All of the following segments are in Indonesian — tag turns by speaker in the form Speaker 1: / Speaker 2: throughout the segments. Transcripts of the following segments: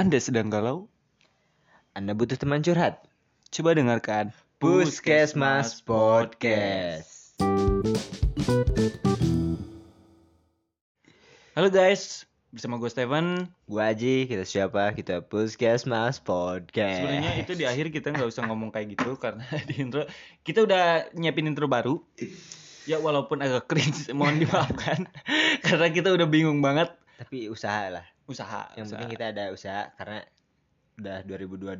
Speaker 1: Anda sedang galau?
Speaker 2: Anda butuh teman curhat?
Speaker 1: Coba dengarkan
Speaker 2: Puskesmas Podcast.
Speaker 1: Halo guys, bersama gue Steven.
Speaker 2: Gua Aji, kita siapa? Kita Puskesmas Podcast.
Speaker 1: Sebenarnya itu di akhir kita nggak usah ngomong kayak gitu karena di intro kita udah nyiapin intro baru. Ya walaupun agak cringe, mohon dimaafkan karena kita udah bingung banget
Speaker 2: Tapi usaha lah.
Speaker 1: usaha.
Speaker 2: Yang
Speaker 1: usaha.
Speaker 2: penting kita ada usaha karena udah 2022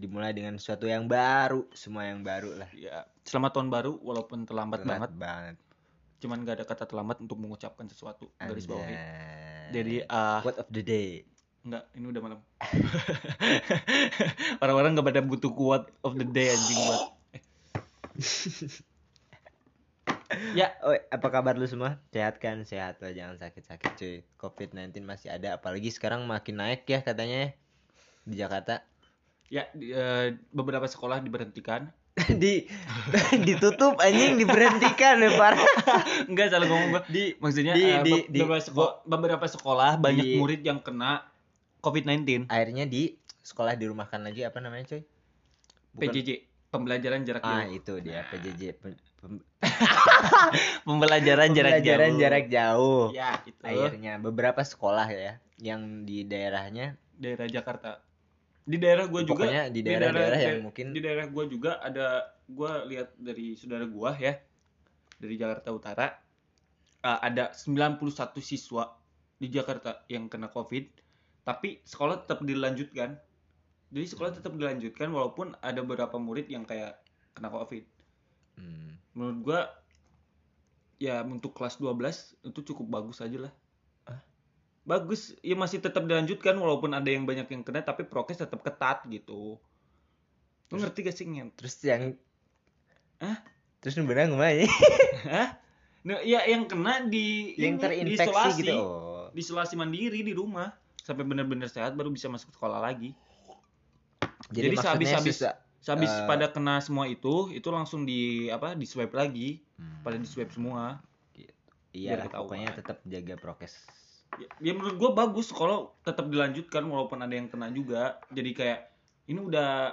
Speaker 2: dimulai dengan sesuatu yang baru, semua yang baru lah.
Speaker 1: Ya, selamat tahun baru walaupun terlambat
Speaker 2: Telat
Speaker 1: banget.
Speaker 2: banget.
Speaker 1: Cuman gak ada kata terlambat untuk mengucapkan sesuatu garis bawahnya.
Speaker 2: Anjay.
Speaker 1: Jadi ah,
Speaker 2: Quote of the day.
Speaker 1: Enggak, ini udah malam. Orang-orang gak pada butuh quote of the day anjing buat.
Speaker 2: Oh, apa kabar lu semua? Sehat kan? Sehat lah, jangan sakit-sakit cuy. Covid-19 masih ada, apalagi sekarang makin naik ya katanya ya, di Jakarta.
Speaker 1: Ya, di- eh, beberapa sekolah diberhentikan.
Speaker 2: di ditutup anjing diberhentikan ya parah
Speaker 1: Enggak salah ngomong gua. Di maksudnya
Speaker 2: di-
Speaker 1: eh, be-
Speaker 2: di- di-
Speaker 1: beberapa, seko- beberapa sekolah banyak
Speaker 2: Di-
Speaker 1: murid yang kena COVID-19,
Speaker 2: akhirnya di sekolah dirumahkan lagi apa namanya coy Bukan-
Speaker 1: PJJ, pembelajaran jarak
Speaker 2: ah
Speaker 1: jauh.
Speaker 2: itu
Speaker 1: Nah.
Speaker 2: dia PJJ Pem- pem-
Speaker 1: Pembelajaran jarak jauh.
Speaker 2: pembelajaran jarak jauh
Speaker 1: Ya, itu.
Speaker 2: akhirnya beberapa sekolah ya yang di daerahnya
Speaker 1: Daerah Jakarta. Di daerah gua juga
Speaker 2: pokoknya di
Speaker 1: di daerah-
Speaker 2: daerah-daerah yang
Speaker 1: daer-
Speaker 2: mungkin
Speaker 1: di daerah gua juga ada gua lihat dari saudara gua ya dari Jakarta Utara eh, ada 91 siswa di Jakarta yang kena COVID tapi sekolah tetap dilanjutkan jadi sekolah tetap dilanjutkan walaupun ada beberapa murid yang kayak kena COVID
Speaker 2: Hmm,
Speaker 1: menurut gua ya untuk kelas 12 itu cukup bagus aja lah bagus ya masih tetap dilanjutkan walaupun ada yang banyak yang kena tapi prokes tetap ketat gitu lu
Speaker 2: Terus-
Speaker 1: ngerti gak sih Ngen?
Speaker 2: terus yang
Speaker 1: Hah?
Speaker 2: terus nu benar gimana
Speaker 1: Hah? Nah, ya yang kena di
Speaker 2: yang
Speaker 1: ini,
Speaker 2: terinfeksi
Speaker 1: diisolasi,
Speaker 2: gitu oh
Speaker 1: diisolasi mandiri di rumah sampai benar-benar sehat baru bisa masuk sekolah lagi.
Speaker 2: jadi,
Speaker 1: Jadi
Speaker 2: maksudnya
Speaker 1: sehabis-habis-
Speaker 2: sisa-
Speaker 1: Habis
Speaker 2: Eh.
Speaker 1: pada kena semua itu, itu langsung di apa? di swab lagi,
Speaker 2: Hmm.
Speaker 1: pada di swab semua.
Speaker 2: iya
Speaker 1: biar
Speaker 2: lah,
Speaker 1: ketahuan.
Speaker 2: pokoknya tetap jaga prokes
Speaker 1: Ya, ya menurut gua bagus sekolah tetap dilanjutkan walaupun ada yang kena juga. Jadi kayak ini udah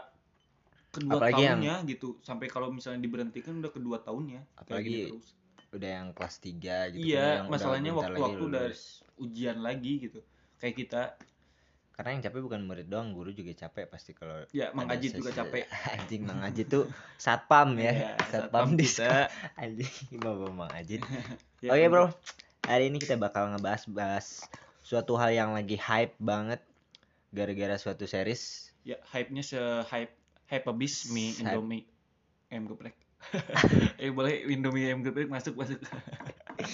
Speaker 1: kedua
Speaker 2: Apalagi yang-
Speaker 1: tahunnya gitu. Sampai kalau misalnya diberhentikan udah kedua tahunnya. Kayak
Speaker 2: Apalagi
Speaker 1: gini terus.
Speaker 2: udah yang kelas 3
Speaker 1: Iya,
Speaker 2: gitu kan, yang udah
Speaker 1: masalahnya
Speaker 2: bentar lagi
Speaker 1: waktu-waktu udah-
Speaker 2: lulus.
Speaker 1: ujian lagi gitu. Kayak kita
Speaker 2: karena yang capek bukan murid doang guru juga capek pasti kalau
Speaker 1: ya Mang
Speaker 2: ada
Speaker 1: Ajit juga
Speaker 2: sesi-
Speaker 1: capek.
Speaker 2: anjing Mang Ajit tuh satpam
Speaker 1: Iya,
Speaker 2: ya satpam di
Speaker 1: kita.
Speaker 2: anjing bawa Mang Ajit
Speaker 1: Ya, untuk-
Speaker 2: oke Oh iya, bro hari ini kita bakal ngebahas bahas suatu hal yang lagi hype banget gara-gara suatu series
Speaker 1: Ya, hype-nya se-hype hype abis mie
Speaker 2: Hype.
Speaker 1: Indomie ayam geprek. eh boleh Indomie ayam geprek masuk masuk.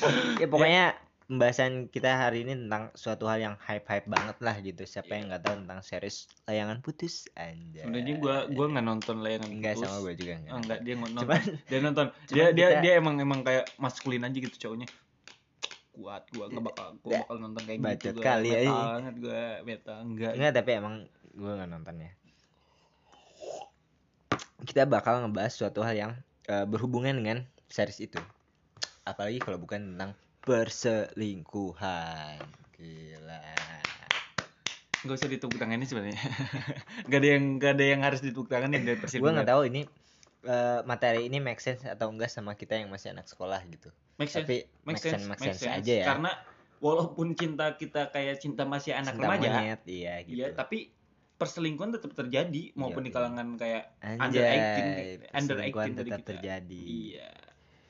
Speaker 1: Iya.
Speaker 2: ya pokoknya pembahasan kita hari ini tentang suatu hal yang hype-hype banget lah gitu siapa yang nggak tahu tentang series layangan putus anjay
Speaker 1: Iya. Sebenarnya gua gua nggak nonton layanan
Speaker 2: enggak
Speaker 1: putus.
Speaker 2: Ya, sama gue juga enggak
Speaker 1: Ah, enggak, dia nggak nonton.
Speaker 2: cuman
Speaker 1: dia nonton.
Speaker 2: cuman
Speaker 1: Dia dia
Speaker 2: kita-
Speaker 1: dia emang emang kayak maskulin aja gitu cowoknya. Kuat, gua nggak bakal gua
Speaker 2: Ya,
Speaker 1: bakal nonton kayak
Speaker 2: bacot
Speaker 1: gitu. gua
Speaker 2: kali ya,
Speaker 1: metal
Speaker 2: ini.
Speaker 1: banget gua beta enggak.
Speaker 2: Enggak tapi emang gue nggak nonton ya. Kita bakal ngebahas suatu hal yang eh, berhubungan dengan series itu. Apalagi kalau bukan tentang perselingkuhan. Gila.
Speaker 1: Enggak usah ditepuk tangannya sebenarnya. Enggak ada yang enggak ada yang harus ditepuk tangan yang dari persidangan.
Speaker 2: Gue nggak tahu ini eh, materi ini make sense atau enggak sama kita yang masih anak sekolah gitu.
Speaker 1: Make sense.
Speaker 2: Tapi
Speaker 1: make sense,
Speaker 2: make
Speaker 1: make
Speaker 2: sense
Speaker 1: sense.
Speaker 2: aja ya.
Speaker 1: Karena walaupun cinta kita kayak cinta masih anak
Speaker 2: Cinta
Speaker 1: remaja,
Speaker 2: monyet, iya gitu.
Speaker 1: iya, tapi perselingkuhan tetap terjadi maupun
Speaker 2: Iya,
Speaker 1: di kalangan kayak under 18
Speaker 2: Anjay,
Speaker 1: gitu. Under
Speaker 2: perselingkuhan
Speaker 1: 18 dari
Speaker 2: tetap
Speaker 1: kita.
Speaker 2: terjadi.
Speaker 1: iya.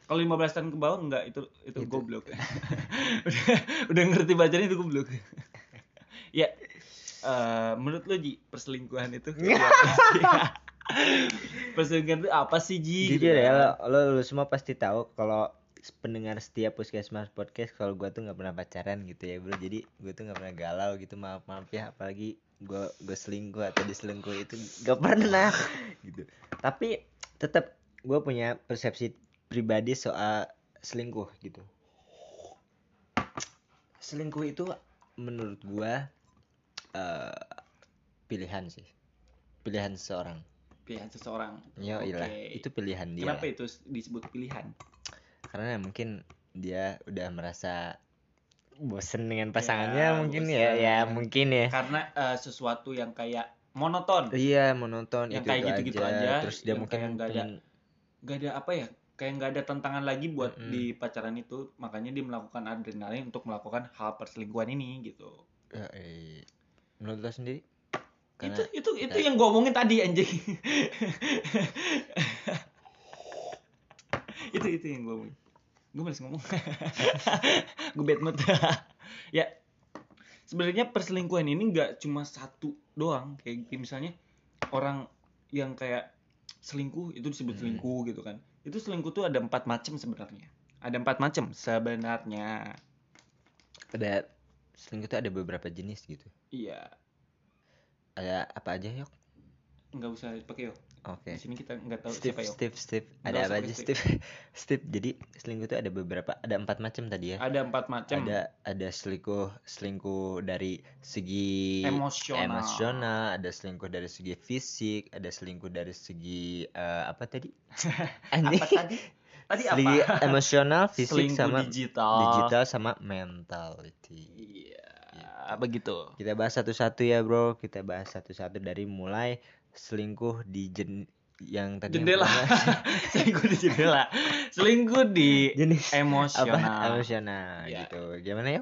Speaker 1: Kalau 15 tahun ke bawah enggak itu itu,
Speaker 2: Itu.
Speaker 1: goblok. udah, udah ngerti bacanya itu goblok. ya. eh, menurut lo Ji, perselingkuhan itu
Speaker 2: Iya.
Speaker 1: perselingkuhan itu apa sih Ji?
Speaker 2: Jujur
Speaker 1: Gitu
Speaker 2: ya,
Speaker 1: kan.
Speaker 2: lo, lo, lo semua pasti tahu kalau pendengar setia Puskesmas Podcast kalau gue tuh nggak pernah pacaran gitu ya bro jadi gue tuh nggak pernah galau gitu maaf maaf ya apalagi gue gue selingkuh atau diselingkuh itu nggak pernah gitu tapi tetap gue punya persepsi pribadi soal selingkuh gitu selingkuh itu menurut gue eh, pilihan sih pilihan seseorang
Speaker 1: pilihan seseorang.
Speaker 2: ya ilah
Speaker 1: Oke.
Speaker 2: itu pilihan dia
Speaker 1: Kenapa itu disebut pilihan?
Speaker 2: karena mungkin dia udah merasa bosen dengan pasangannya
Speaker 1: Ya,
Speaker 2: mungkin ya
Speaker 1: bosen.
Speaker 2: ya mungkin ya
Speaker 1: karena eh, sesuatu yang kayak monoton
Speaker 2: iya menonton
Speaker 1: Yang
Speaker 2: itu
Speaker 1: kayak gitu-gitu aja,
Speaker 2: terus dia
Speaker 1: yang
Speaker 2: mungkin
Speaker 1: kayak nggak ada
Speaker 2: pengen-
Speaker 1: nggak ada apa ya kayak nggak ada tantangan lagi buat
Speaker 2: Mm-mm.
Speaker 1: di pacaran itu makanya dia melakukan adrenalin untuk melakukan hal perselingkuhan ini gitu
Speaker 2: Ya, eh, menurut lo sendiri
Speaker 1: itu
Speaker 2: karena
Speaker 1: itu itu yang gue omongin tadi anjing itu itu yang gue omongin gue masih ngomong gue bad mood ya sebenarnya perselingkuhan ini nggak cuma satu doang kayak kayak misalnya orang yang kayak selingkuh itu disebut
Speaker 2: Hmm.
Speaker 1: selingkuh gitu kan itu selingkuh tuh ada empat macam sebenarnya ada empat macam sebenarnya
Speaker 2: ada selingkuh itu ada beberapa jenis gitu
Speaker 1: iya
Speaker 2: ada apa aja yuk
Speaker 1: nggak usah pakai yo
Speaker 2: oke
Speaker 1: di sini kita nggak tahu
Speaker 2: Steve,
Speaker 1: siapa yo
Speaker 2: Steve, Steve,
Speaker 1: Nggak
Speaker 2: ada
Speaker 1: usah
Speaker 2: apa
Speaker 1: pakai
Speaker 2: aja Steve? Steve, jadi selingkuh itu ada beberapa, ada empat macam tadi ya.
Speaker 1: ada empat macam
Speaker 2: Ada ada selingkuh selingkuh dari segi
Speaker 1: emosional.
Speaker 2: emosional, ada selingkuh dari segi fisik, ada selingkuh dari segi eh, apa tadi? Anjing.
Speaker 1: Apa tadi? Tadi apa?
Speaker 2: Segi emosional, fisik
Speaker 1: Selingkuh
Speaker 2: sama
Speaker 1: digital.
Speaker 2: digital sama mentality.
Speaker 1: Iya, begitu.
Speaker 2: Kita bahas satu-satu ya, Bro. Kita bahas satu-satu dari mulai selingkuh di jen- yang tadi yang
Speaker 1: Jendela.
Speaker 2: pertama,
Speaker 1: Selingkuh di jendela. Selingkuh di
Speaker 2: jenis
Speaker 1: emosional.
Speaker 2: apa emosional
Speaker 1: Iya.
Speaker 2: gitu gimana ya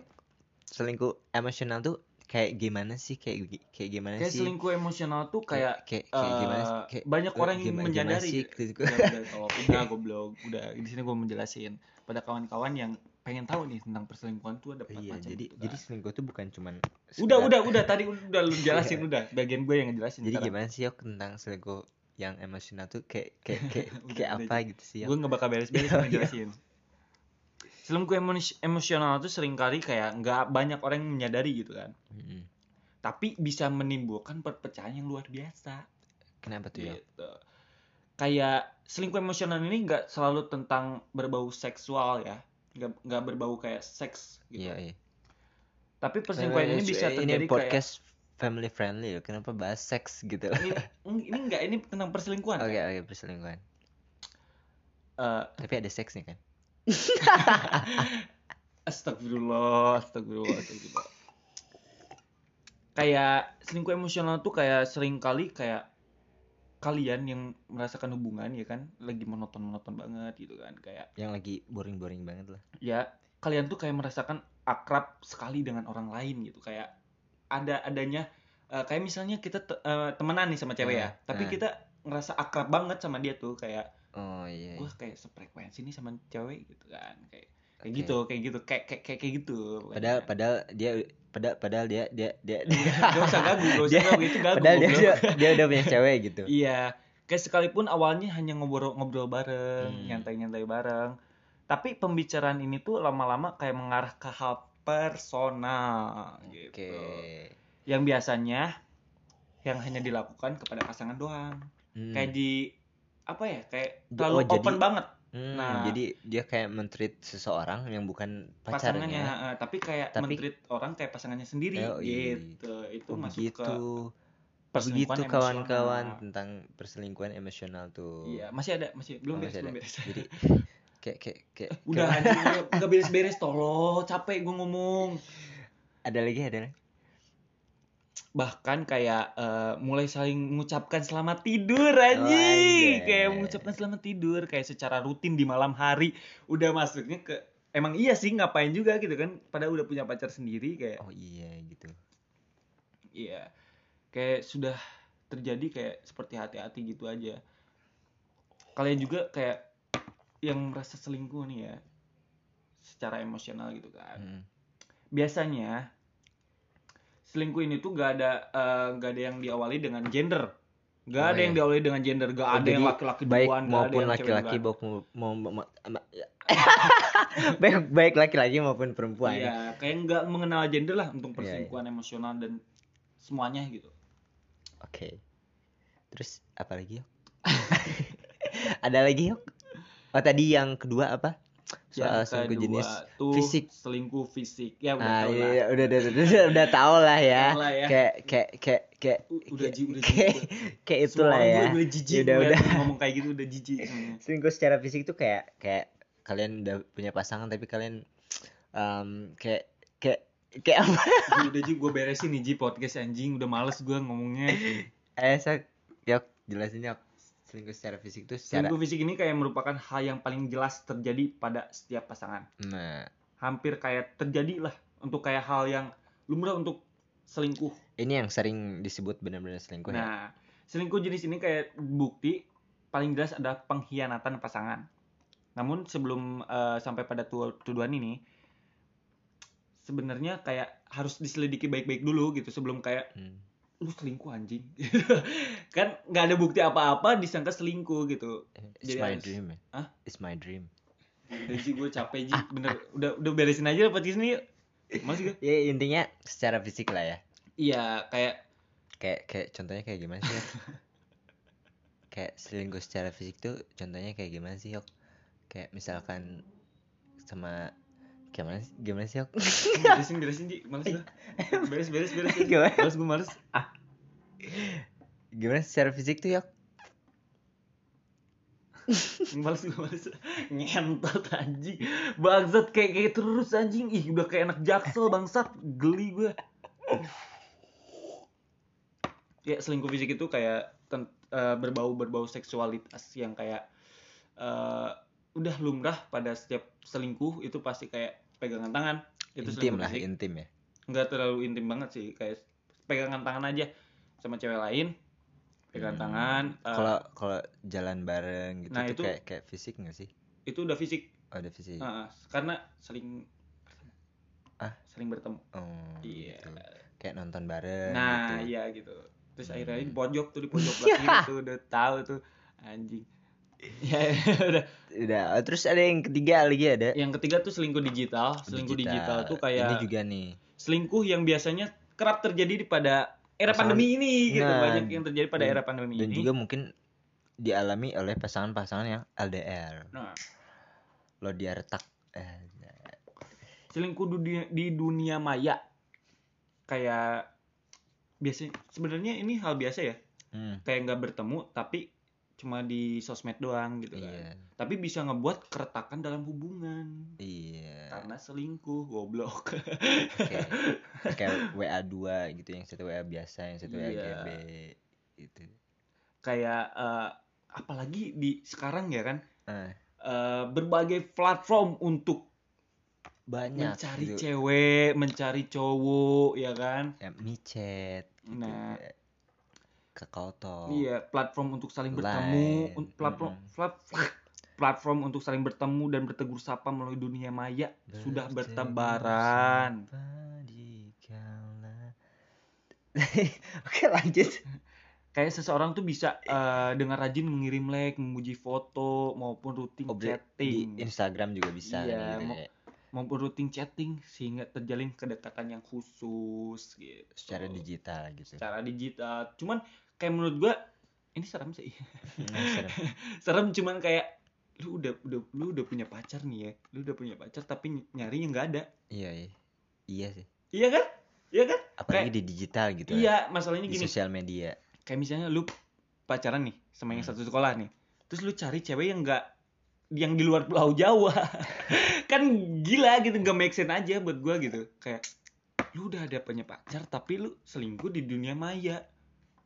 Speaker 2: selingkuh emosional tuh kayak gimana sih kayak gi- kayak gimana
Speaker 1: Kayak
Speaker 2: sih
Speaker 1: selingkuh emosional tuh kayak
Speaker 2: kayak, kayak gimana sih?
Speaker 1: eh,
Speaker 2: Kayak-
Speaker 1: banyak orang yang
Speaker 2: gimana- gimana
Speaker 1: menyadari.
Speaker 2: sih selingkuh?
Speaker 1: Udah, udah, tolong. udah goblok. Udah, di sini gue menjelasin pada kawan-kawan yang pengen tahu nih tentang perselingkuhan tuh ada empat
Speaker 2: iya
Speaker 1: macam.
Speaker 2: jadi
Speaker 1: gitu
Speaker 2: jadi
Speaker 1: kan.
Speaker 2: selingkuh tuh bukan cuman
Speaker 1: udah,
Speaker 2: sekedar-
Speaker 1: udah, udah tadi udah lu jelasin udah. Bagian gue yang ngejelasin.
Speaker 2: jadi gimana sih yok tentang selingkuh yang emosional tuh kayak kayak kayak,
Speaker 1: Udah,
Speaker 2: kayak
Speaker 1: udah,
Speaker 2: apa gitu sih
Speaker 1: gue
Speaker 2: Yok?
Speaker 1: nggak bakal beres-beres
Speaker 2: Iya, iya.
Speaker 1: ngejelasin selingkuh emo- emosional tuh seringkali kayak nggak banyak orang yang menyadari gitu kan
Speaker 2: Mm-mm.
Speaker 1: tapi bisa menimbulkan perpecahan yang luar biasa
Speaker 2: kenapa tuh ya
Speaker 1: gitu kayak selingkuh emosional ini nggak selalu tentang berbau seksual ya nggak nggak berbau kayak seks gitu
Speaker 2: iya iya
Speaker 1: tapi perselingkuhan ini bisa terjadi
Speaker 2: ini
Speaker 1: kayak
Speaker 2: podcast family friendly loh. kenapa bahas seks gitu oke
Speaker 1: ini ini nggak ini tentang perselingkuhan
Speaker 2: oke
Speaker 1: ya.
Speaker 2: perselingkuhan
Speaker 1: Eh,
Speaker 2: tapi ada seksnya kan
Speaker 1: Astagfirullah, astagfirullah, astagfirullah. kayak selingkuh emosional tuh kayak sering kali kayak kalian yang merasakan hubungan ya kan lagi monoton-monoton banget gitu kan kayak
Speaker 2: yang lagi boring-boring banget lah
Speaker 1: ya kalian tuh kayak merasakan akrab sekali dengan orang lain gitu kayak ada adanya eh, kayak misalnya kita te- eh, temenan nih sama cewek ya
Speaker 2: Hmm,
Speaker 1: tapi
Speaker 2: hmm.
Speaker 1: kita ngerasa akrab banget sama dia tuh kayak
Speaker 2: oh iya,
Speaker 1: gue
Speaker 2: iya.
Speaker 1: kayak sefrekuensi nih sama cewek gitu kan kayak kayak
Speaker 2: Oke.
Speaker 1: gitu kayak gitu kayak kayak kayak, kayak gitu pokoknya
Speaker 2: padahal
Speaker 1: kan.
Speaker 2: padahal dia padahal padahal dia dia dia,
Speaker 1: gak usah gagu, gak usah
Speaker 2: Dia-
Speaker 1: gagu itu gagu.
Speaker 2: padahal dia,
Speaker 1: goblok.
Speaker 2: dia dia udah punya cewek gitu
Speaker 1: Iya, kayak sekalipun awalnya hanya ngobrol-ngobrol bareng,
Speaker 2: Hmm.
Speaker 1: nyantai-nyantai bareng. Tapi pembicaraan ini tuh lama-lama kayak mengarah ke hal personal
Speaker 2: oke
Speaker 1: gitu. Yang biasanya yang hanya dilakukan kepada pasangan doang.
Speaker 2: Hmm.
Speaker 1: Kayak di apa ya? Kayak
Speaker 2: Oh,
Speaker 1: terlalu
Speaker 2: jadi
Speaker 1: open banget
Speaker 2: Hmm,
Speaker 1: nah.
Speaker 2: jadi dia kayak mentreat seseorang yang bukan
Speaker 1: pasangannya,
Speaker 2: pacarnya
Speaker 1: eh, tapi kayak
Speaker 2: Tapi-
Speaker 1: men-treat orang kayak pasangannya sendiri
Speaker 2: Oh, iya.
Speaker 1: gitu. Itu
Speaker 2: Oh,
Speaker 1: masuk
Speaker 2: begitu
Speaker 1: ke perselingkuhan
Speaker 2: begitu
Speaker 1: emosional.
Speaker 2: kawan-kawan tentang perselingkuhan emosional tuh
Speaker 1: Iya, masih ada, masih belum
Speaker 2: Oh,
Speaker 1: beres,
Speaker 2: masih
Speaker 1: belum ya.
Speaker 2: ada.
Speaker 1: beres.
Speaker 2: jadi kayak kayak kayak
Speaker 1: Udah
Speaker 2: kayak-
Speaker 1: anjing, udah- udah beres-beres tolong, capek gue ngomong.
Speaker 2: ada lagi ada lagi
Speaker 1: Bahkan kayak eh, mulai saling mengucapkan selamat tidur anjing.
Speaker 2: anjay.
Speaker 1: kayak mengucapkan selamat tidur kayak secara rutin di malam hari. Udah masuknya ke Emang iya sih ngapain juga gitu kan padahal udah punya pacar sendiri kayak
Speaker 2: oh iya gitu
Speaker 1: iya. Kayak sudah terjadi kayak seperti hati-hati gitu aja. Kalian juga kayak yang merasa selingkuh nih ya secara emosional gitu kan.
Speaker 2: Mm.
Speaker 1: biasanya selingkuh ini tuh gak ada eh, gak ada yang diawali dengan gender gak
Speaker 2: Oh,
Speaker 1: ada yang
Speaker 2: iya.
Speaker 1: diawali dengan gender gak
Speaker 2: Oh,
Speaker 1: ada yang
Speaker 2: jadi
Speaker 1: laki-laki
Speaker 2: baik
Speaker 1: duluan gak ada
Speaker 2: maupun
Speaker 1: yang cewek
Speaker 2: laki-laki
Speaker 1: duluan.
Speaker 2: maupun mau- mau- mau- ama- ya. baik baik laki-laki maupun perempuan
Speaker 1: iya
Speaker 2: ya.
Speaker 1: kayak nggak mengenal gender lah untuk
Speaker 2: Iya,
Speaker 1: perselingkuhan emosional dan semuanya gitu
Speaker 2: oke terus apa lagi yuk ada lagi yuk oh tadi yang kedua apa
Speaker 1: yang
Speaker 2: soal selingkuh
Speaker 1: kedua
Speaker 2: jenis
Speaker 1: tuh
Speaker 2: fisik.
Speaker 1: selingkuh fisik ya udah
Speaker 2: ah
Speaker 1: tau
Speaker 2: iya,
Speaker 1: lah
Speaker 2: iya, udah udah udah udah, udah tau lah ya
Speaker 1: Tau lah ya.
Speaker 2: kayak kayak kayak kayak
Speaker 1: U- udah
Speaker 2: kayak-
Speaker 1: ji udah ji
Speaker 2: kayak kayak itulah ya
Speaker 1: udah jijik
Speaker 2: udah
Speaker 1: ngeliat
Speaker 2: udah
Speaker 1: ngomong kayak gitu udah jijik semuanya.
Speaker 2: selingkuh secara fisik tuh kayak kayak kalian udah punya pasangan tapi kalian em, kayak kayak kayak apa
Speaker 1: Ji, udah Ji gue beresin nih Ji podcast anjing udah males gue ngomongnya
Speaker 2: eh sak yok jelasin yok selingkuh secara fisik tuh secara
Speaker 1: selingkuh fisik ini kayak merupakan hal yang paling jelas terjadi pada setiap pasangan
Speaker 2: nah
Speaker 1: hampir kayak terjadi lah untuk kayak hal yang lumrah untuk selingkuh
Speaker 2: ini yang sering disebut benar-benar selingkuh ya
Speaker 1: Nah, selingkuh jenis ini kayak bukti paling jelas ada pengkhianatan pasangan. Namun sebelum eh, sampai pada tu- tuduhan ini sebenarnya kayak harus diselidiki baik-baik dulu gitu sebelum kayak
Speaker 2: Hmm.
Speaker 1: lu selingkuh anjing. kan nggak ada bukti apa-apa disangka selingkuh gitu.
Speaker 2: It's
Speaker 1: Jadi
Speaker 2: my
Speaker 1: harus-
Speaker 2: dream ya.
Speaker 1: Hah?
Speaker 2: It's my dream.
Speaker 1: Jadi gue capek Ji, bener udah udah beresin aja podcast ini. Masih
Speaker 2: Ya intinya secara fisik lah ya.
Speaker 1: Iya, kayak
Speaker 2: Kayak kayak contohnya kayak gimana sih? Yok? kayak selingkuh secara fisik tuh contohnya kayak gimana sih, Yok? Kayak misalkan sama gimana sih? Gimana sih, Yok?
Speaker 1: beresin beresin Ji, males gue. Beres beres beres.
Speaker 2: Iya. Gimana?
Speaker 1: Males gue males.
Speaker 2: gimana secara fisik tuh, Yok?
Speaker 1: Males gue males Ngentot anjing Bangsat kayak kayak terus anjing Ih udah kayak anak jaksel bangsat Geli gue Ya selingkuh fisik itu kayak ten- eh, Berbau-berbau seksualitas Yang kayak eh, Udah lumrah pada setiap selingkuh Itu pasti kayak pegangan tangan Itu
Speaker 2: intim
Speaker 1: selingkuh
Speaker 2: lah,
Speaker 1: fisik
Speaker 2: intim ya.
Speaker 1: Nggak terlalu intim banget sih Kayak pegangan tangan aja Sama cewek lain Pegangan
Speaker 2: Hmm.
Speaker 1: tangan eh,
Speaker 2: Kalau kalau jalan bareng gitu
Speaker 1: Nah,
Speaker 2: tuh
Speaker 1: itu-
Speaker 2: kayak kayak fisik gak sih?
Speaker 1: Itu udah fisik
Speaker 2: Oh, ada fisik.
Speaker 1: Heeh, karena sering
Speaker 2: Ah?
Speaker 1: sering bertemu.
Speaker 2: Oh,
Speaker 1: Iya.
Speaker 2: gitu. Kayak nonton bareng
Speaker 1: Nah,
Speaker 2: gitu.
Speaker 1: iya gitu. Terus
Speaker 2: Hmm.
Speaker 1: akhirnya di pojok tuh di pojok belakang tuh udah tahu tuh anjing. Ya, udah.
Speaker 2: Udah, oh, terus ada yang ketiga lagi ada.
Speaker 1: Yang ketiga tuh selingkuh digital. Iya, Selingkuh digital, tuh
Speaker 2: ini
Speaker 1: kayak
Speaker 2: juga nih
Speaker 1: selingkuh yang biasanya kerap terjadi di pada era
Speaker 2: Pasangan-
Speaker 1: pandemi ini gitu.
Speaker 2: Nah,
Speaker 1: Banyak yang terjadi pada
Speaker 2: dan-
Speaker 1: era pandemi
Speaker 2: dan
Speaker 1: ini.
Speaker 2: juga mungkin dialami oleh pasangan-pasangan yang LDR
Speaker 1: Nah,
Speaker 2: lo diartak eh,
Speaker 1: selingkuh dunia- di dunia maya kayak biasanya sebenarnya ini hal biasa ya
Speaker 2: hmm,
Speaker 1: kayak nggak bertemu tapi cuma di sosmed doang gitu kan
Speaker 2: iya
Speaker 1: tapi bisa ngebuat keretakan dalam hubungan
Speaker 2: iya
Speaker 1: karena selingkuh goblok
Speaker 2: kayak kayak WA 2 gitu yang satu WA biasa yang satu WA
Speaker 1: Iya.
Speaker 2: GB gitu
Speaker 1: kayak eh, apalagi di sekarang ya kan
Speaker 2: Ah,
Speaker 1: eh, berbagai platform untuk
Speaker 2: banyak
Speaker 1: mencari
Speaker 2: gitu.
Speaker 1: cewek mencari cowok ya kan
Speaker 2: Eh, micet gitu.
Speaker 1: Nah.
Speaker 2: ke kotor
Speaker 1: iya platform untuk saling bertemu
Speaker 2: Oh. Lain,
Speaker 1: un- platform
Speaker 2: mm-mm.
Speaker 1: plat- platform untuk saling bertemu dan bertegur sapa melalui dunia maya sudah bertebaran
Speaker 2: Oke lanjut
Speaker 1: kayak seseorang tuh bisa eh, dengan rajin mengirim like, memuji foto maupun rutin
Speaker 2: Oh, di-
Speaker 1: chatting,
Speaker 2: Di Instagram juga bisa
Speaker 1: Iya,
Speaker 2: gitu
Speaker 1: mau-
Speaker 2: ya.
Speaker 1: maupun rutin chatting sehingga terjalin kedekatan yang khusus gitu.
Speaker 2: secara digital gitu.
Speaker 1: Secara digital. Cuman kayak menurut gua ini serem sih.
Speaker 2: Nah, secara-
Speaker 1: serem cuman kayak lu udah udah lu udah punya pacar nih ya. Lu udah punya pacar tapi ny- nyarinya nggak ada.
Speaker 2: iya, iya. Iya sih.
Speaker 1: Iya kan? Iya kan?
Speaker 2: Apalagi di digital gitu. ya.
Speaker 1: Iya, masalahnya
Speaker 2: Di
Speaker 1: gini.
Speaker 2: sosial media.
Speaker 1: kayak misalnya lu pacaran nih sama yang
Speaker 2: Hmm.
Speaker 1: satu sekolah nih terus lu cari cewek yang enggak yang di luar pulau Jawa kan gila gitu nggak make sense aja buat gua gitu kayak lu udah ada punya pacar tapi lu selingkuh di dunia maya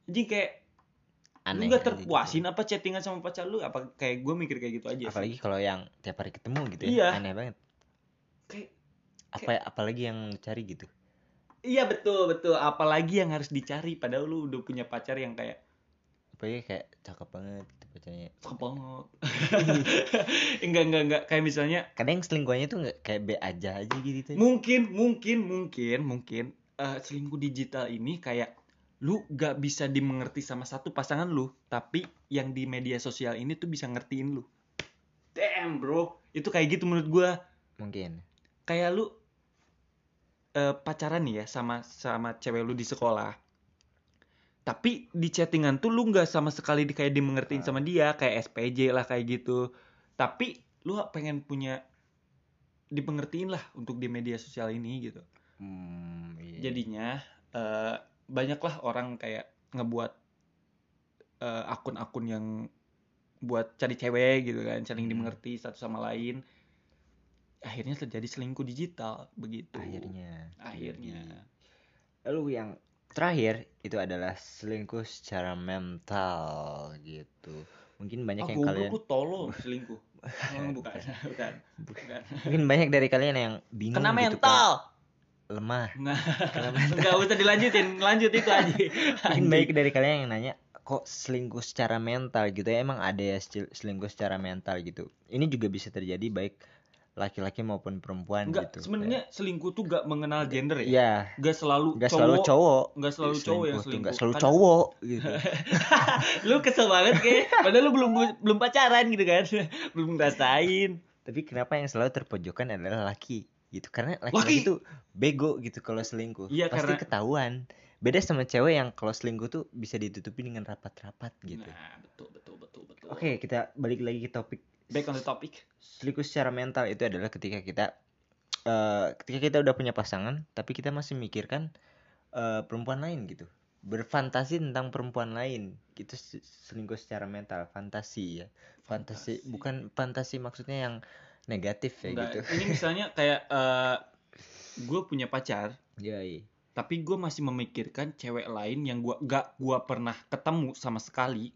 Speaker 1: jadi kayak lu
Speaker 2: Aneh.
Speaker 1: nggak
Speaker 2: aja gitu.
Speaker 1: terpuasin apa chattingan sama pacar lu apa kayak gua mikir kayak gitu aja sih.
Speaker 2: Apalagi kalau yang tiap hari ketemu gitu
Speaker 1: Iya.
Speaker 2: ya. Aneh banget.
Speaker 1: Kayak-
Speaker 2: Apa apalagi yang cari gitu.
Speaker 1: iya betul betul apalagi yang harus dicari padahal lu udah punya pacar yang kayak
Speaker 2: Apalagi kayak cakep banget gitu pacarnya.
Speaker 1: kepongot enggak enggak enggak kayak misalnya
Speaker 2: Kadang selingkuhannya tuh nggak kayak B aja aja gitu. ya.
Speaker 1: mungkin mungkin mungkin mungkin eh, selingkuh digital ini kayak lu gak bisa dimengerti sama satu pasangan lu tapi yang di media sosial ini tuh bisa ngertiin lu damn bro itu kayak gitu menurut gua
Speaker 2: Mungkin.
Speaker 1: kayak lu eh, pacaran nih ya sama sama cewek lu di sekolah tapi di chattingan tuh lu nggak sama sekali di, kayak dimengertiin
Speaker 2: Ah.
Speaker 1: sama dia kayak SPJ lah kayak gitu tapi lu pengen punya dipengertiin lah untuk di media sosial ini gitu
Speaker 2: Hmm, iya.
Speaker 1: jadinya eh, banyaklah orang kayak ngebuat eh, akun-akun yang buat cari cewek gitu kan saling
Speaker 2: Hmm.
Speaker 1: dimengerti satu sama lain akhirnya terjadi selingkuh digital begitu
Speaker 2: akhirnya Iya.
Speaker 1: akhirnya
Speaker 2: lalu yang terakhir itu adalah selingkuh secara mental gitu mungkin banyak
Speaker 1: ah,
Speaker 2: yang ya. kalian
Speaker 1: goblok lu tolong selingkuh Oh, bukan bukan bukan
Speaker 2: mungkin banyak dari kalian yang bingung
Speaker 1: kena
Speaker 2: gitu,
Speaker 1: mental
Speaker 2: Kak. lemah
Speaker 1: nah
Speaker 2: kena mental
Speaker 1: nggak usah dilanjutin lanjut itu aja
Speaker 2: mungkin banyak dari kalian yang nanya kok selingkuh secara mental gitu ya emang ada ya sel- selingkuh secara mental gitu ini juga bisa terjadi baik laki-laki maupun perempuan
Speaker 1: Enggak,
Speaker 2: gitu
Speaker 1: sebenarnya selingkuh tuh gak mengenal gender ya.
Speaker 2: ya
Speaker 1: Gak selalu cowok,
Speaker 2: nggak selalu cowok Iya,
Speaker 1: Gak selalu cowok yang
Speaker 2: tuh,
Speaker 1: selingkuh.
Speaker 2: nggak selalu
Speaker 1: Kan
Speaker 2: cowok gitu
Speaker 1: lu kesel banget kayak padahal lu belum belum pacaran gitu kan. belum ngerasain.
Speaker 2: tapi kenapa yang selalu terpojokkan adalah laki gitu karena
Speaker 1: Laki!
Speaker 2: laki-laki itu bego gitu kalau selingkuh
Speaker 1: Iya,
Speaker 2: pasti
Speaker 1: karena-
Speaker 2: ketahuan beda sama cewek yang kalau selingkuh tuh bisa ditutupi dengan rapat-rapat gitu
Speaker 1: Nah, betul betul betul betul.
Speaker 2: oke kita balik lagi ke topik
Speaker 1: Back on the topic.
Speaker 2: selingkuh secara mental itu adalah ketika kita eh ketika kita udah punya pasangan tapi kita masih mikirkan eh, perempuan lain gitu fantasi tentang perempuan lain itu se- selingkuh secara mental fantasi ya fantasi, bukan fantasi maksudnya yang negatif ya
Speaker 1: Enggak,
Speaker 2: gitu
Speaker 1: ini misalnya kayak gue punya pacar
Speaker 2: Yoi.
Speaker 1: tapi gue masih memikirkan cewek lain yang gua gak gua pernah ketemu sama sekali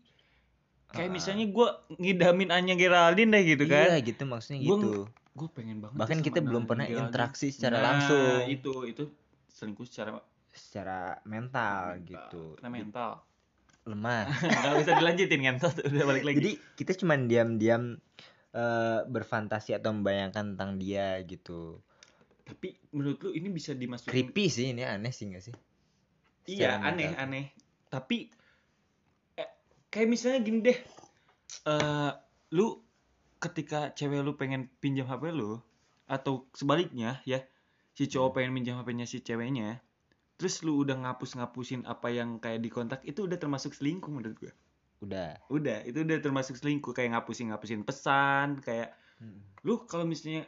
Speaker 1: kayak
Speaker 2: Ah.
Speaker 1: misalnya gue ngidamin Anya Geraldine deh gitu kan
Speaker 2: iya gitu maksudnya
Speaker 1: Gua
Speaker 2: gitu
Speaker 1: gue pengen banget
Speaker 2: bahkan
Speaker 1: sama
Speaker 2: kita belum
Speaker 1: Anya
Speaker 2: pernah
Speaker 1: Geraldine.
Speaker 2: interaksi secara
Speaker 1: Nah,
Speaker 2: langsung
Speaker 1: itu itu selingkuh secara
Speaker 2: secara mental,
Speaker 1: mental. Nah,
Speaker 2: gitu
Speaker 1: Karena mental.
Speaker 2: lemah
Speaker 1: Enggak bisa dilanjutin kan. Sos, Udah balik lagi.
Speaker 2: jadi kita cuman diam-diam eh, berfantasi atau membayangkan tentang dia gitu
Speaker 1: tapi menurut lu ini bisa dimasukin
Speaker 2: creepy sih ini aneh sih nggak sih
Speaker 1: Iya,
Speaker 2: secara
Speaker 1: aneh,
Speaker 2: mental.
Speaker 1: aneh. Tapi eh, kayak misalnya gini deh. Eh, lu ketika cewek lu pengen pinjam HP lu atau sebaliknya ya, si cowok pengen minjam HP-nya si ceweknya. Terus lu udah ngapus-ngapusin apa yang kayak di kontak itu udah termasuk selingkuh menurut gua.
Speaker 2: udah
Speaker 1: Udah, itu udah termasuk selingkuh kayak ngapusin-ngapusin pesan, kayak lu kalau misalnya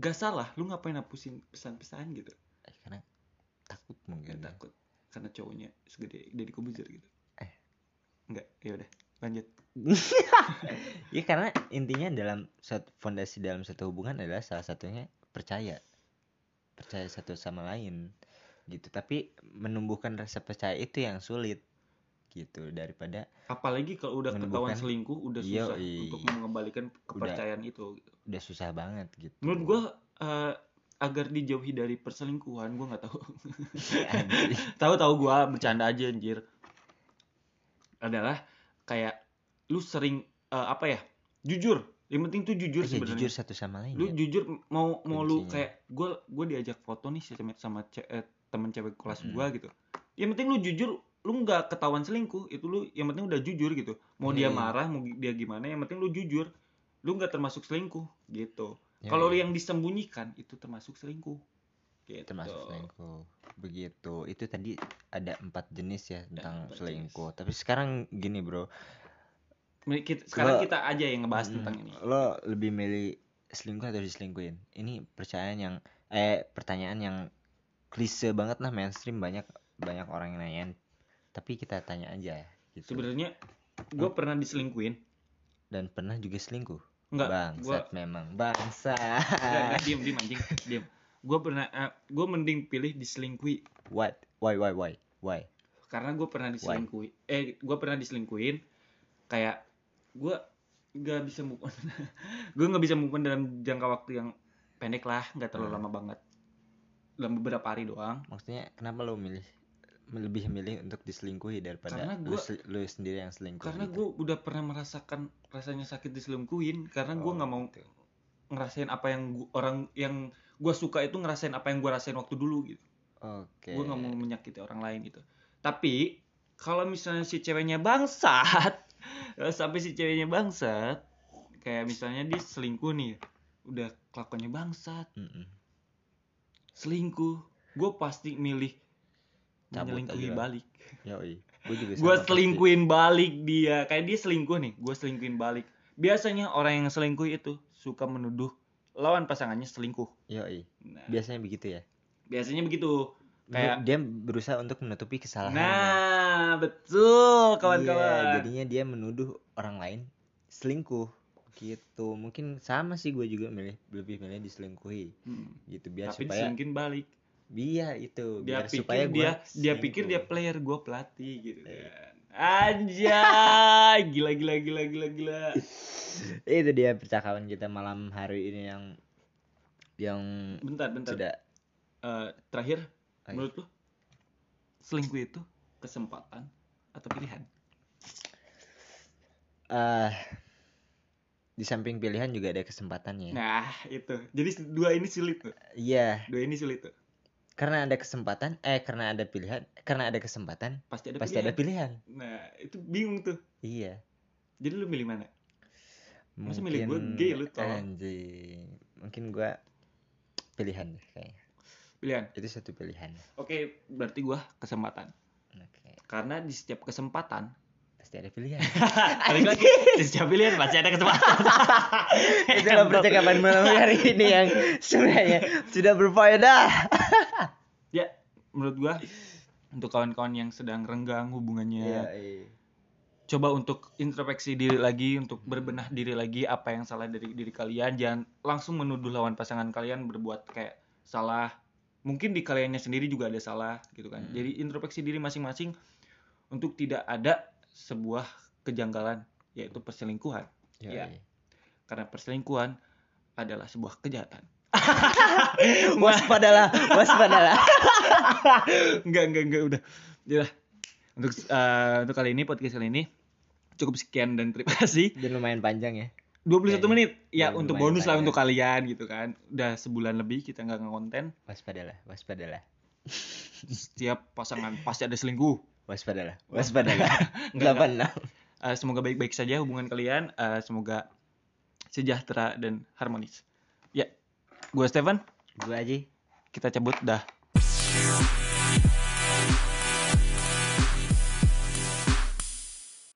Speaker 1: gak salah lu ngapain hapusin pesan-pesan gitu
Speaker 2: Eh, karena takut
Speaker 1: gak
Speaker 2: mungkin ya.
Speaker 1: takut karena cowoknya segede dari kubuzer gitu
Speaker 2: Eh.
Speaker 1: nggak ya udah lanjut
Speaker 2: ya karena intinya dalam suatu fondasi dalam satu hubungan adalah salah satunya percaya percaya satu sama lain gitu tapi menumbuhkan rasa percaya itu yang sulit gitu daripada
Speaker 1: apalagi kalau udah ketahuan
Speaker 2: Menemukan-
Speaker 1: selingkuh udah
Speaker 2: Iya,
Speaker 1: susah
Speaker 2: iya.
Speaker 1: untuk mengembalikan kepercayaan itu gitu.
Speaker 2: udah susah banget gitu
Speaker 1: menurut gua eh, agar dijauhi dari perselingkuhan gua nggak tahu
Speaker 2: Iya, Anjing.
Speaker 1: tahu tahu gua bercanda aja anjir adalah kayak lu sering eh, apa ya jujur yang penting tuh jujur
Speaker 2: Iya,
Speaker 1: sebenarnya
Speaker 2: jujur satu sama lain
Speaker 1: lu
Speaker 2: ya.
Speaker 1: jujur mau mau lu
Speaker 2: Kuncinya.
Speaker 1: kayak gue gue diajak foto nih sama sama ce- eh, temen cewek kelas
Speaker 2: Mm.
Speaker 1: gua gitu yang penting lu jujur lu nggak ketahuan selingkuh itu lu yang penting udah jujur gitu mau dia
Speaker 2: Iya, iya.
Speaker 1: marah mau gi- dia gimana yang penting lu jujur lu nggak termasuk selingkuh gitu
Speaker 2: Ya,
Speaker 1: kalau
Speaker 2: ya.
Speaker 1: lu yang disembunyikan itu termasuk selingkuh gitu.
Speaker 2: termasuk selingkuh begitu itu tadi ada empat jenis ya tentang
Speaker 1: empat
Speaker 2: selingkuh tapi sekarang gini bro
Speaker 1: Mi- kita- sekarang
Speaker 2: Gua-
Speaker 1: kita aja yang ngebahas
Speaker 2: Mm,
Speaker 1: tentang ini
Speaker 2: lo lebih milih selingkuh atau diselingkuhin ini percayaan yang eh pertanyaan yang klise banget lah mainstream banyak banyak orang yang nanyain tapi kita tanya aja gitu
Speaker 1: sebenarnya gue pernah diselingkuhin
Speaker 2: dan pernah juga selingkuh
Speaker 1: nggak gua-
Speaker 2: bangsat memang bangsat
Speaker 1: Enggak, enggak, diem, diem anjing, diem. Gue pernah, gue mending pilih diselingkuhi
Speaker 2: what why why why why
Speaker 1: karena gue pernah diselingkuhi. Eh, gue pernah diselingkuhin. Kayak gue nggak bisa move on. gue nggak bisa move on dalam jangka waktu yang pendek lah, nggak terlalu
Speaker 2: Hmm.
Speaker 1: lama banget. Dalam beberapa hari doang.
Speaker 2: maksudnya kenapa lo milih lebih milih untuk diselingkuhi daripada
Speaker 1: Karena
Speaker 2: lu
Speaker 1: gua-
Speaker 2: sel- lu, sendiri yang selingkuh
Speaker 1: Karena
Speaker 2: gitu?
Speaker 1: gue udah pernah merasakan rasanya sakit diselingkuhin. Karena gue
Speaker 2: Oh,
Speaker 1: nggak mau
Speaker 2: gitu.
Speaker 1: ngerasain apa yang gua- orang yang gue suka itu ngerasain apa yang gue rasain waktu dulu gitu.
Speaker 2: Oke.
Speaker 1: gue nggak mau menyakiti orang lain gitu tapi kalau misalnya si ceweknya bangsat eh, sampai si ceweknya bangsat kayak misalnya dia selingkuh nih udah kelakuannya bangsat
Speaker 2: Mm-mm.
Speaker 1: selingkuh gue pasti milih
Speaker 2: Cabut
Speaker 1: menyelingkuhi
Speaker 2: aja lah.
Speaker 1: balik
Speaker 2: Yoi. Gue juga
Speaker 1: gue
Speaker 2: sama pasti.
Speaker 1: selingkuhin balik dia kayak dia selingkuh nih gue selingkuhin balik biasanya orang yang selingkuh itu suka menuduh lawan pasangannya selingkuh
Speaker 2: Yoi.
Speaker 1: nah,
Speaker 2: Biasanya begitu ya.
Speaker 1: biasanya begitu Kayak-
Speaker 2: dia berusaha untuk menutupi kesalahan.
Speaker 1: nah betul kawan-kawan
Speaker 2: Iya, jadinya dia menuduh orang lain selingkuh gitu mungkin sama sih gue juga milih lebih milih diselingkuhi
Speaker 1: Hmm.
Speaker 2: gitu biar
Speaker 1: tapi
Speaker 2: supaya
Speaker 1: diselingkin balik
Speaker 2: biar itu
Speaker 1: dia
Speaker 2: biar
Speaker 1: pikir
Speaker 2: supaya gua
Speaker 1: dia dia pikir dia
Speaker 2: selingkuh.
Speaker 1: player gue pelatih gitu
Speaker 2: Iya.
Speaker 1: kan anjay gila gila gila gila gila
Speaker 2: Eh, itu dia percakapan kita malam hari ini yang yang
Speaker 1: bentar bentar
Speaker 2: sudah eh,
Speaker 1: Eh, terakhir
Speaker 2: Oke.
Speaker 1: menurut lu selingkuh itu kesempatan atau pilihan
Speaker 2: eh di samping pilihan juga ada kesempatannya
Speaker 1: nah itu jadi dua ini sulit tuh
Speaker 2: iya
Speaker 1: dua ini sulit tuh
Speaker 2: karena ada kesempatan eh karena ada pilihan karena ada kesempatan
Speaker 1: pasti ada
Speaker 2: pasti ada
Speaker 1: pilihan
Speaker 2: pilihan
Speaker 1: nah itu bingung tuh
Speaker 2: iya
Speaker 1: jadi lu milih mana Masa
Speaker 2: mungkin
Speaker 1: milih gua gay, lu tolong.
Speaker 2: anjing. mungkin gua pilihan deh kayaknya
Speaker 1: pilihan
Speaker 2: itu satu pilihan
Speaker 1: oke berarti gua kesempatan
Speaker 2: oke
Speaker 1: karena di setiap kesempatan
Speaker 2: pasti ada pilihan
Speaker 1: balik lagi di setiap pilihan pasti ada kesempatan
Speaker 2: itulah percakapan malam hari ini yang sebenarnya sudah berfaedah
Speaker 1: ya menurut gua untuk kawan-kawan yang sedang renggang hubungannya
Speaker 2: Iya, iya.
Speaker 1: coba untuk introspeksi diri lagi, untuk berbenah diri lagi apa yang salah dari diri kalian. Jangan langsung menuduh lawan pasangan kalian berbuat kayak salah. Mungkin di kaliannya sendiri juga ada salah gitu kan.
Speaker 2: Hmm.
Speaker 1: Jadi introspeksi diri masing-masing untuk tidak ada sebuah kejanggalan yaitu perselingkuhan.
Speaker 2: Iya,
Speaker 1: Iya.
Speaker 2: iya.
Speaker 1: Karena perselingkuhan adalah sebuah kejahatan.
Speaker 2: waspadalah waspadalah
Speaker 1: enggak, enggak, enggak udah. Yalah. Untuk eh, untuk kali ini podcast kali ini cukup sekian dan terima kasih.
Speaker 2: dan lumayan panjang ya
Speaker 1: 21
Speaker 2: Kayaknya.
Speaker 1: menit ya
Speaker 2: Ya,
Speaker 1: untuk
Speaker 2: lumayan
Speaker 1: bonus lah
Speaker 2: banyak.
Speaker 1: untuk kalian gitu kan udah sebulan lebih kita nggak ngonten
Speaker 2: waspadalah waspadalah
Speaker 1: setiap pasangan pasti ada selingkuh
Speaker 2: waspadalah waspadalah
Speaker 1: Enggak, enggak.
Speaker 2: delapan enam
Speaker 1: Eh, semoga baik-baik saja hubungan kalian Eh, semoga sejahtera dan harmonis ya gue Stefan
Speaker 2: gua aja
Speaker 1: kita cabut dah